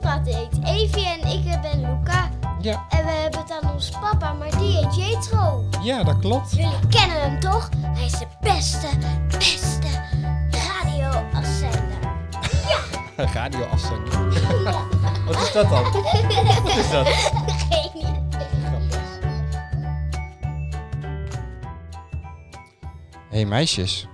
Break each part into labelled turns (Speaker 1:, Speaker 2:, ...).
Speaker 1: gaat eet. Evie en ik ben Luca.
Speaker 2: Ja,
Speaker 1: En we hebben het aan ons papa, maar die heet Jetro.
Speaker 2: ja, dat klopt.
Speaker 1: Jullie kennen hem toch? Hij is de beste, beste radioafzender.
Speaker 2: Radioafzender. Wat is dat dan? Wat is dat?
Speaker 1: Geen idee.
Speaker 2: Grappig. hey, meisjes,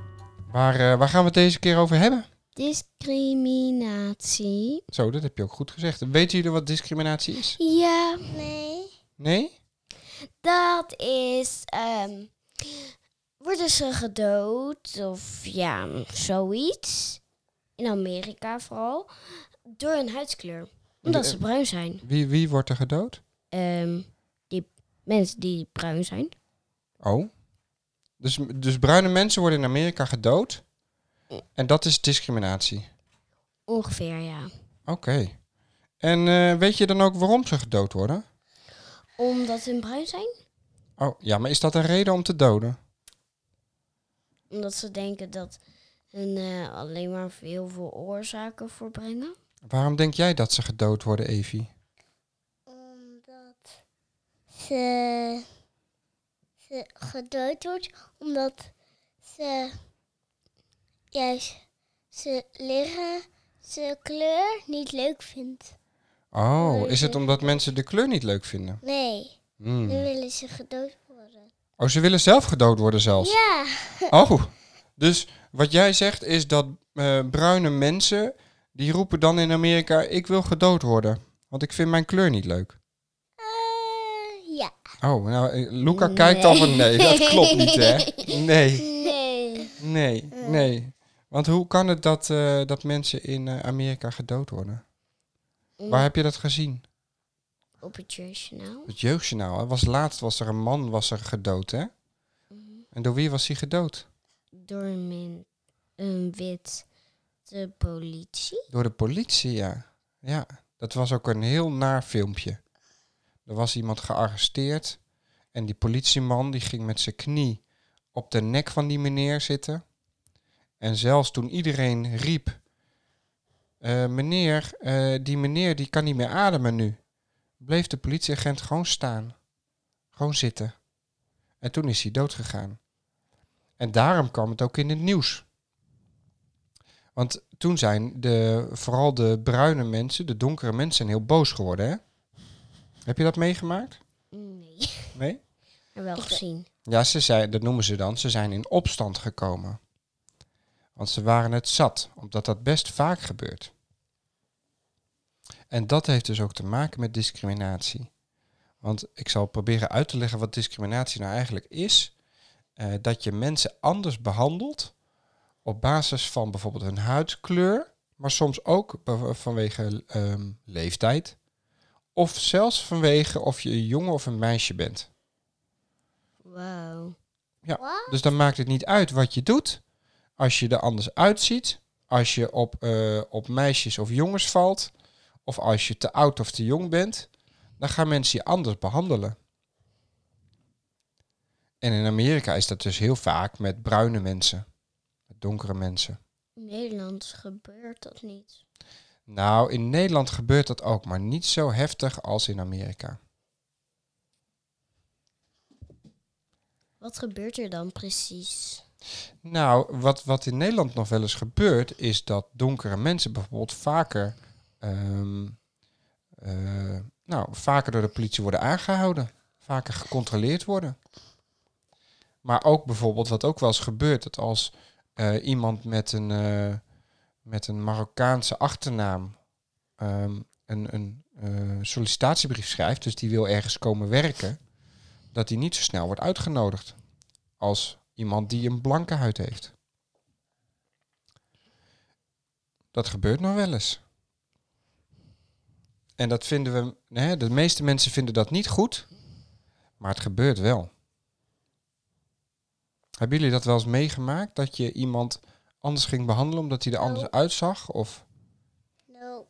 Speaker 2: waar, eh, waar gaan we het deze keer over hebben?
Speaker 1: Discriminatie.
Speaker 2: Zo, dat heb je ook goed gezegd. Weten jullie wat discriminatie is?
Speaker 1: Ja. Nee.
Speaker 2: Nee?
Speaker 1: Dat is. ehm, worden ze gedood of ja, zoiets. In Amerika vooral. Door hun huidskleur. Omdat ze bruin zijn.
Speaker 2: Wie, wie wordt er gedood?
Speaker 1: Ehm, die mensen die bruin zijn.
Speaker 2: Oh. Dus, dus bruine mensen worden in Amerika gedood. En dat is discriminatie.
Speaker 1: Ongeveer, ja.
Speaker 2: Oké. En eh, weet je dan ook waarom ze gedood worden?
Speaker 1: Omdat ze bruin zijn?
Speaker 2: Oh, ja, maar is dat een reden om te doden?
Speaker 1: Omdat ze denken dat hun eh, alleen maar heel veel oorzaken voorbrengen.
Speaker 2: Waarom denk jij dat ze gedood worden, Evie?
Speaker 3: Omdat ze, ze gedood wordt. Omdat ze juist ze liggen, ze kleur niet leuk vindt.
Speaker 2: Oh, is het omdat mensen de kleur niet leuk vinden?
Speaker 3: Nee, nu
Speaker 2: Hmm.
Speaker 3: willen ze gedood worden.
Speaker 2: Oh, ze willen zelf gedood worden zelfs.
Speaker 3: Ja,
Speaker 2: Oh, dus wat jij zegt is dat eh, bruine mensen, die roepen dan in Amerika, ik wil gedood worden. Want ik vind mijn kleur niet leuk.
Speaker 3: eh, ja.
Speaker 2: Oh, nou, eh, Luca kijkt al van nee, dat klopt niet hè. Nee,
Speaker 3: Nee.
Speaker 2: nee, nee. Want hoe kan het dat, eh, dat mensen in eh, Amerika gedood worden? Waar heb je dat gezien?
Speaker 1: Op het journaal.
Speaker 2: Het jeugdjournaal, hè? Was laatst was er een man was er gedood hè? En door wie was hij gedood?
Speaker 1: Door een, min- een wit de politie.
Speaker 2: Door de politie, ja. Ja, dat was ook een heel naar filmpje. Er was iemand gearresteerd en die politieman die ging met zijn knie op de nek van die meneer zitten. En zelfs toen iedereen riep, "Eh, meneer, eh, die meneer die kan niet meer ademen nu, bleef de politieagent gewoon staan. Gewoon zitten. En toen is hij doodgegaan. En daarom kwam het ook in het nieuws. Want toen zijn de, vooral de bruine mensen, de donkere mensen, heel boos geworden. Hè? Heb je dat meegemaakt?
Speaker 1: Nee.
Speaker 2: Nee?
Speaker 1: Maar wel gezien.
Speaker 2: Ja, ze zijn, dat noemen ze dan, ze zijn in opstand gekomen. Want ze waren het zat, omdat dat best vaak gebeurt. En dat heeft dus ook te maken met discriminatie. Want ik zal proberen uit te leggen wat discriminatie nou eigenlijk is. Eh, dat je mensen anders behandelt op basis van bijvoorbeeld hun huidskleur, maar soms ook be- vanwege ehm, leeftijd. Of zelfs vanwege of je een jongen of een meisje bent.
Speaker 1: Wow.
Speaker 2: Dus dan maakt het niet uit wat je doet. Als je er anders uitziet. Als je op, eh, op meisjes of jongens valt. Of als je te oud of te jong bent. Dan gaan mensen je anders behandelen. En in Amerika is dat dus heel vaak met bruine mensen. Met donkere mensen.
Speaker 1: In Nederland gebeurt dat niet.
Speaker 2: Nou, in Nederland gebeurt dat ook. Maar niet zo heftig als in Amerika.
Speaker 1: Wat gebeurt er dan precies?
Speaker 2: Nou, wat, wat in Nederland nog wel eens gebeurt, is dat donkere mensen bijvoorbeeld vaker, ehm, eh, nou, vaker door de politie worden aangehouden, vaker gecontroleerd worden. Maar ook bijvoorbeeld, wat ook wel eens gebeurt, dat als eh, iemand met een, eh, met een Marokkaanse achternaam ehm, een, een eh, sollicitatiebrief schrijft, dus die wil ergens komen werken, dat die niet zo snel wordt uitgenodigd als iemand die een blanke huid heeft. Dat gebeurt nog wel eens. En dat vinden we, hè, de meeste mensen vinden dat niet goed, maar het gebeurt wel. Hebben jullie dat wel eens meegemaakt? Dat je iemand anders ging behandelen omdat hij er anders
Speaker 3: Nou.
Speaker 2: uitzag? Of
Speaker 3: No.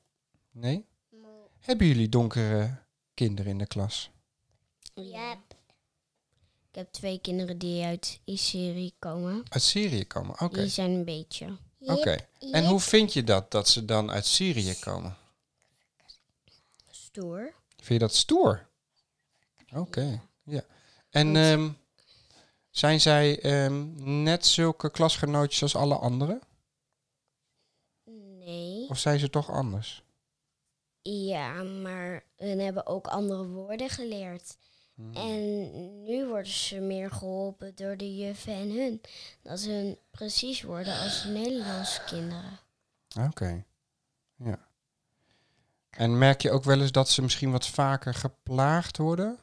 Speaker 2: nee?
Speaker 3: no.
Speaker 2: Hebben jullie donkere kinderen in de klas?
Speaker 3: Ja.
Speaker 1: Ik heb twee kinderen die uit Syrië komen.
Speaker 2: Uit Syrië komen, oké.
Speaker 1: Die zijn een beetje.
Speaker 2: Oké. En hoe vind je dat, dat ze dan uit Syrië komen?
Speaker 1: stoer.
Speaker 2: Vind je dat stoer? Oké, ja. En ehm, zijn zij ehm, net zulke klasgenootjes als alle anderen?
Speaker 1: Nee.
Speaker 2: Of zijn ze toch anders?
Speaker 1: Ja, maar hun hebben ook andere woorden geleerd.
Speaker 2: Hmm.
Speaker 1: En nu worden ze meer geholpen door de juffen en hun. Dat ze hun precies worden als de Nederlandse kinderen.
Speaker 2: Oké, ja. En merk je ook wel eens dat ze misschien wat vaker geplaagd worden?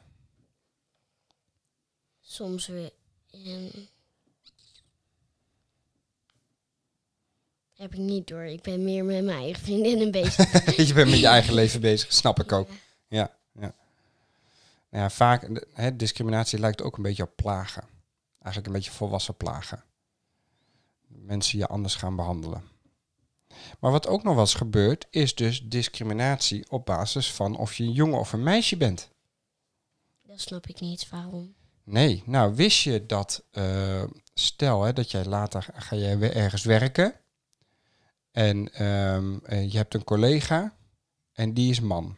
Speaker 1: Soms weer. ehm, heb ik niet door. Ik ben meer met mijn eigen vriendinnen bezig.
Speaker 2: je bent met je eigen leven bezig, snap ik ook. Ja, ja. Nou ja, vaak, hè, discriminatie lijkt ook een beetje op plagen. Eigenlijk een beetje volwassen plagen. Mensen je anders gaan behandelen. Maar wat ook nog wel eens gebeurt, is dus discriminatie op basis van of je een jongen of een meisje bent.
Speaker 1: Dat snap ik niet waarom.
Speaker 2: Nee, nou wist je dat, eh, stel hè, dat jij later ga jij weer ergens werken en ehm, eh, je hebt een collega en die is man.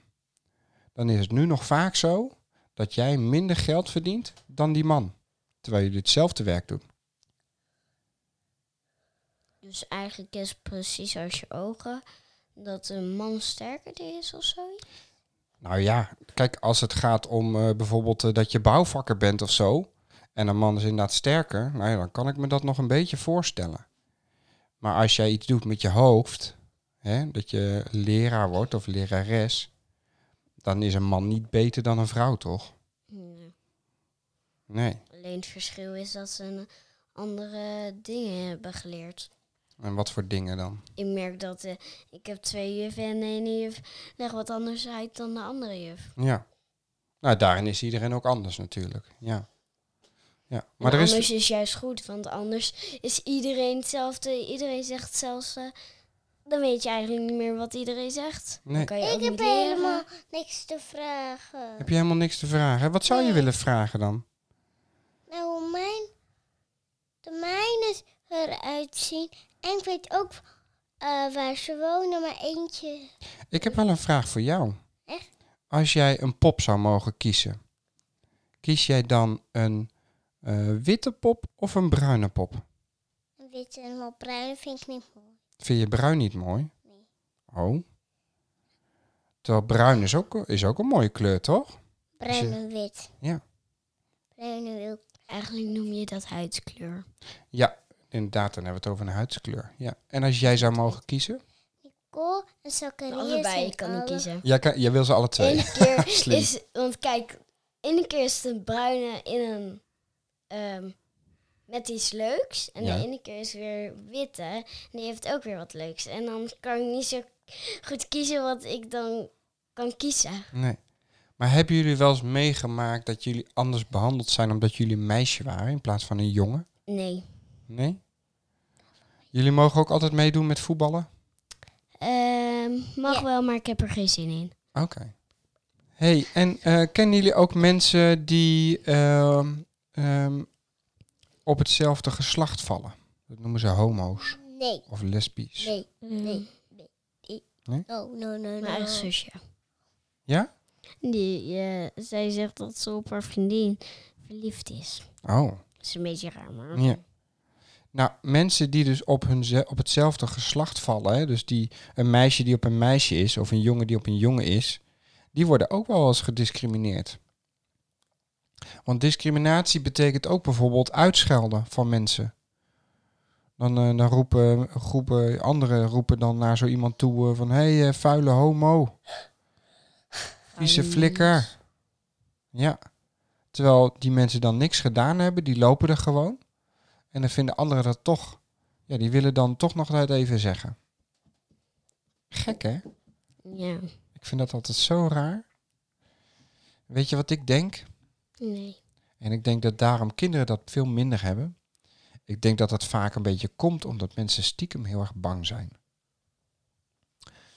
Speaker 2: Dan is het nu nog vaak zo dat jij minder geld verdient dan die man, terwijl jullie hetzelfde werk doen.
Speaker 1: Dus eigenlijk is het precies als je ogen dat een man sterker is of zoiets.
Speaker 2: Nou ja, kijk, als het gaat om eh, bijvoorbeeld eh, dat je bouwvakker bent of zo. En een man is inderdaad sterker. Nou ja, dan kan ik me dat nog een beetje voorstellen. Maar als jij iets doet met je hoofd. Hè, dat je leraar wordt of lerares. Dan is een man niet beter dan een vrouw, toch?
Speaker 1: Ja.
Speaker 2: Nee.
Speaker 1: Alleen het verschil is dat ze een andere dingen hebben geleerd.
Speaker 2: En wat voor dingen dan?
Speaker 1: Ik merk dat eh, ik heb twee juffen en de ene juf legt wat anders uit dan de andere juf.
Speaker 2: Ja. Nou, daarin is iedereen ook anders natuurlijk. Ja. ja. Maar
Speaker 1: Maar
Speaker 2: er is.
Speaker 1: anders is... juist goed, want anders is iedereen hetzelfde. Iedereen zegt zelfs, eh, dan weet je eigenlijk niet meer wat iedereen zegt. Dan
Speaker 2: Nee.
Speaker 1: kan je ook
Speaker 3: Ik heb
Speaker 1: niet leren.
Speaker 3: helemaal niks te vragen.
Speaker 2: Heb je helemaal niks te vragen? Wat zou je willen vragen dan?
Speaker 3: Nou, mijn, de mijne eruit zien. En ik weet ook eh, waar ze wonen, maar eentje.
Speaker 2: Ik heb wel een vraag voor jou.
Speaker 3: Echt?
Speaker 2: Als jij een pop zou mogen kiezen, kies jij dan een eh, witte pop of een bruine pop?
Speaker 3: Een witte en een bruine vind ik niet mooi.
Speaker 2: Vind je bruin niet mooi?
Speaker 3: Nee.
Speaker 2: Oh. Terwijl bruin is ook, is ook een mooie kleur, toch?
Speaker 3: Bruin en wit.
Speaker 2: Ja.
Speaker 3: Bruin en wit.
Speaker 1: Eigenlijk noem je dat huidskleur.
Speaker 2: Ja, inderdaad, dan hebben we het over een huidskleur. Ja. En als jij zou mogen kiezen?
Speaker 3: Kool en Zacharias.
Speaker 1: Allebei
Speaker 3: en
Speaker 1: kan ik
Speaker 3: alle-
Speaker 1: kiezen.
Speaker 2: Jij, kan, jij wil ze alle twee.
Speaker 1: Eén keer
Speaker 2: Slim.
Speaker 1: is, want kijk, ene keer is het een bruine in een, ehm, met iets leuks. En
Speaker 2: Ja.
Speaker 1: de ene keer is weer witte. En die heeft ook weer wat leuks. En dan kan ik niet zo goed kiezen wat ik dan kan kiezen.
Speaker 2: Nee. Maar hebben jullie wel eens meegemaakt dat jullie anders behandeld zijn omdat jullie een meisje waren in plaats van een jongen?
Speaker 1: Nee.
Speaker 2: Nee? Jullie mogen ook altijd meedoen met voetballen?
Speaker 1: Ehm, mag
Speaker 3: Ja.
Speaker 1: wel, maar ik heb er geen zin in.
Speaker 2: Oké. hey, en eh, kennen jullie ook mensen die ehm, ehm, op hetzelfde geslacht vallen? Dat noemen ze homo's
Speaker 3: Nee,
Speaker 2: of lesbisch.
Speaker 3: nee.
Speaker 1: Nee.
Speaker 3: No, no, no,
Speaker 1: Mijn
Speaker 3: no.
Speaker 1: eigen zusje.
Speaker 2: Ja?
Speaker 1: Die, eh, zij zegt dat ze op haar vriendin verliefd is.
Speaker 2: Oh.
Speaker 1: Dat is een beetje raar, maar...
Speaker 2: Ja. Nou, mensen die dus op, hun ze- op hetzelfde geslacht vallen, hè, dus die, een meisje die op een meisje is of een jongen die op een jongen is, die worden ook wel eens gediscrimineerd. Want discriminatie betekent ook bijvoorbeeld uitschelden van mensen. Dan, eh, dan roepen, groepen, anderen roepen dan naar zo iemand toe eh, van hé, hey, eh, vuile homo, vieze
Speaker 1: Fijn.
Speaker 2: flikker. Ja. Terwijl die mensen dan niks gedaan hebben, die lopen er gewoon. En dan vinden anderen dat toch. Ja, die willen dan toch nog dat even zeggen. Gek hè?
Speaker 1: Ja.
Speaker 2: Ik vind dat altijd zo raar. Weet je wat ik denk?
Speaker 1: Nee.
Speaker 2: En ik denk dat daarom kinderen dat veel minder hebben. Ik denk dat dat vaak een beetje komt omdat mensen stiekem heel erg bang zijn.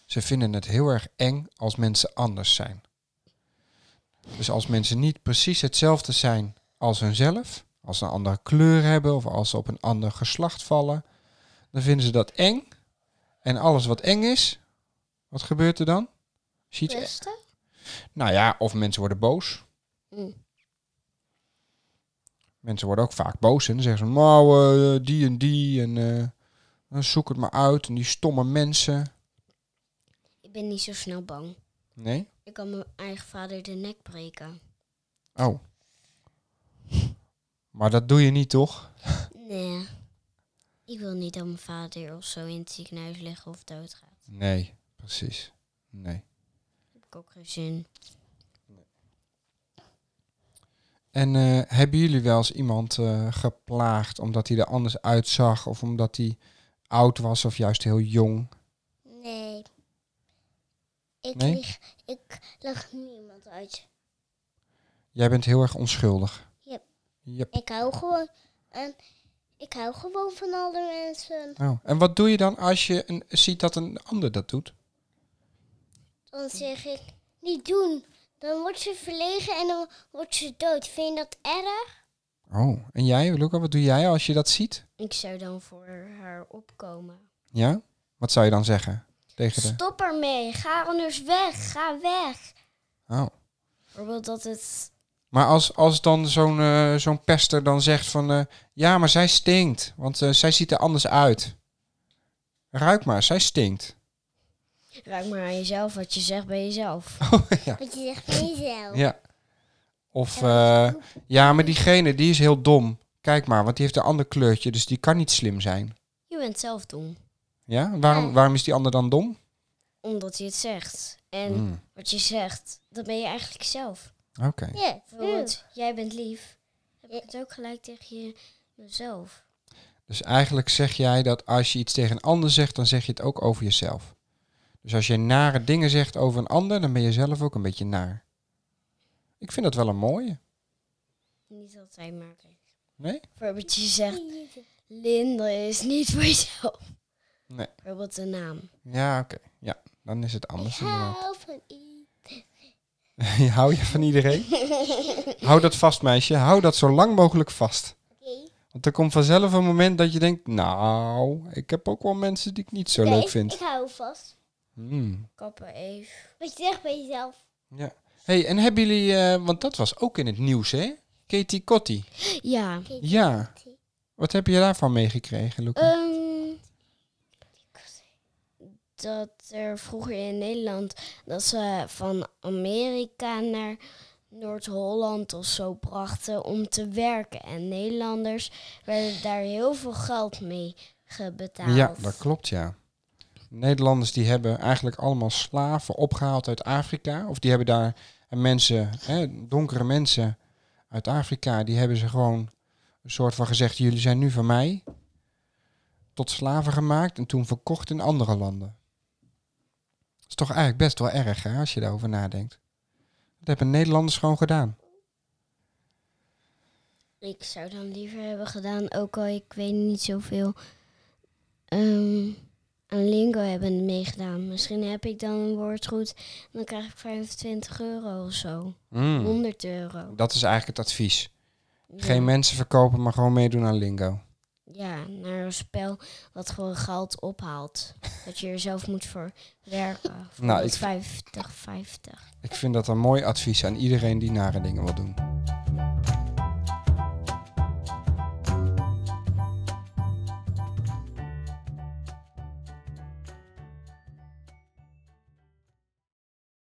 Speaker 2: Ze vinden het heel erg eng als mensen anders zijn. Dus als mensen niet precies hetzelfde zijn als hunzelf, als ze een andere kleur hebben of als ze op een ander geslacht vallen, dan vinden ze dat eng. En alles wat eng is, wat gebeurt er dan? Als je iets
Speaker 1: Pesten?
Speaker 2: Nou ja, of mensen worden boos.
Speaker 1: Hm.
Speaker 2: Mensen worden ook vaak boos en dan zeggen ze, nou, eh, die en die en eh, dan zoek het maar uit en die stomme mensen.
Speaker 1: Ik ben niet zo snel bang.
Speaker 2: Nee?
Speaker 1: Ik kan mijn eigen vader de nek breken.
Speaker 2: Oh. Maar dat doe je niet, toch?
Speaker 1: Nee. Ik wil niet dat mijn vader of zo in het ziekenhuis ligt of doodgaat.
Speaker 2: Nee, precies. Nee.
Speaker 1: Daar heb ik ook geen zin.
Speaker 2: En eh, hebben jullie wel eens iemand eh, geplaagd omdat hij er anders uitzag of omdat hij oud was of juist heel jong?
Speaker 3: Nee. Ik,
Speaker 2: Nee?
Speaker 3: Lig, ik lag niemand uit.
Speaker 2: Jij bent heel erg onschuldig.
Speaker 3: Yep.
Speaker 2: Yep.
Speaker 3: Ik hou gewoon. En ik hou gewoon van alle mensen.
Speaker 2: Oh. En wat doe je dan als je een, ziet dat een ander dat doet?
Speaker 3: Dan zeg ik niet doen. Dan wordt ze verlegen en dan wordt ze dood. Vind je dat erg?
Speaker 2: Oh, en jij, Luca, wat doe jij als je dat ziet?
Speaker 1: Ik zou dan voor haar opkomen.
Speaker 2: Ja? Wat zou je dan zeggen? Tegen de...
Speaker 1: Stop ermee. Ga anders weg. Ga weg.
Speaker 2: Oh.
Speaker 1: Bijvoorbeeld dat het...
Speaker 2: Maar als, als dan zo'n eh, zo'n pester dan zegt van... eh, ja, maar zij stinkt, want eh, zij ziet er anders uit. Ruik maar, zij stinkt.
Speaker 1: Ruik maar aan jezelf wat je zegt bij jezelf.
Speaker 2: Oh, ja.
Speaker 3: Want je zegt nee zelf.
Speaker 2: ja. Of, eh, ja, maar diegene, die is heel dom. Kijk maar, want die heeft een ander kleurtje, dus die kan niet slim zijn.
Speaker 1: Je bent zelf dom.
Speaker 2: Ja? Waarom,
Speaker 3: Ja.
Speaker 2: waarom is die ander dan dom?
Speaker 1: Omdat hij het zegt. En
Speaker 2: Hmm,
Speaker 1: wat je zegt, dat ben je eigenlijk zelf.
Speaker 2: Oké.
Speaker 3: Ja,
Speaker 1: Bijvoorbeeld, jij bent lief. Heb ik het ook gelijk tegen je, mezelf.
Speaker 2: Dus eigenlijk zeg jij dat als je iets tegen een ander zegt, dan zeg je het ook over jezelf. Dus als je nare dingen zegt over een ander, dan ben je zelf ook een beetje naar. Ik vind dat wel een mooie.
Speaker 1: Niet altijd, maar oké.
Speaker 2: Nee?
Speaker 1: Bijvoorbeeld, je zegt, Linde is niet voor jezelf.
Speaker 2: Nee.
Speaker 1: Bijvoorbeeld de naam.
Speaker 2: Ja, oké. Ja, dan is het anders.
Speaker 3: Ik
Speaker 2: inderdaad.
Speaker 3: hou van i.
Speaker 2: Je Hou je van iedereen? Hou dat vast, meisje. Hou dat zo lang mogelijk vast.
Speaker 3: Oké.
Speaker 2: Want er komt vanzelf een moment dat je denkt, nou, ik heb ook wel mensen die ik niet zo
Speaker 3: Nee,
Speaker 2: leuk vind.
Speaker 3: Ik hou vast.
Speaker 2: Hmm.
Speaker 1: Kappen Eve.
Speaker 3: Wat je zegt bij jezelf.
Speaker 2: Ja. hey, en hebben jullie, eh, want dat was ook in het nieuws, hè? Katie Cotty.
Speaker 1: Ja.
Speaker 2: Ja. Wat heb je daarvan meegekregen, Luca?
Speaker 1: Ehm, dat er vroeger in Nederland dat ze van Amerika naar Noord-Holland of zo brachten om te werken. En Nederlanders werden daar heel veel geld mee gebetaald.
Speaker 2: Ja, dat klopt, ja. Nederlanders die hebben eigenlijk allemaal slaven opgehaald uit Afrika. Of die hebben daar en mensen, hè, donkere mensen uit Afrika, die hebben ze gewoon een soort van gezegd, jullie zijn nu van mij. Tot slaven gemaakt en toen verkocht in andere landen. is toch eigenlijk best wel erg, hè, als je daarover nadenkt. Dat hebben Nederlanders gewoon gedaan.
Speaker 1: Ik zou dan liever hebben gedaan, ook al ik weet niet zoveel, ehm, aan Lingo hebben meegedaan. Misschien heb ik dan een woord goed en dan krijg ik 25 euro of zo.
Speaker 2: Mm.
Speaker 1: 100 euro.
Speaker 2: Dat is eigenlijk het advies.
Speaker 1: Ja.
Speaker 2: Geen mensen verkopen, maar gewoon meedoen aan lingo.
Speaker 1: Ja, naar een spel wat gewoon geld ophaalt. Dat je er zelf moet voor werken. Voor
Speaker 2: Nou, ik-
Speaker 1: 50, 50.
Speaker 2: Ik vind dat een mooi advies aan iedereen die nare dingen wil doen.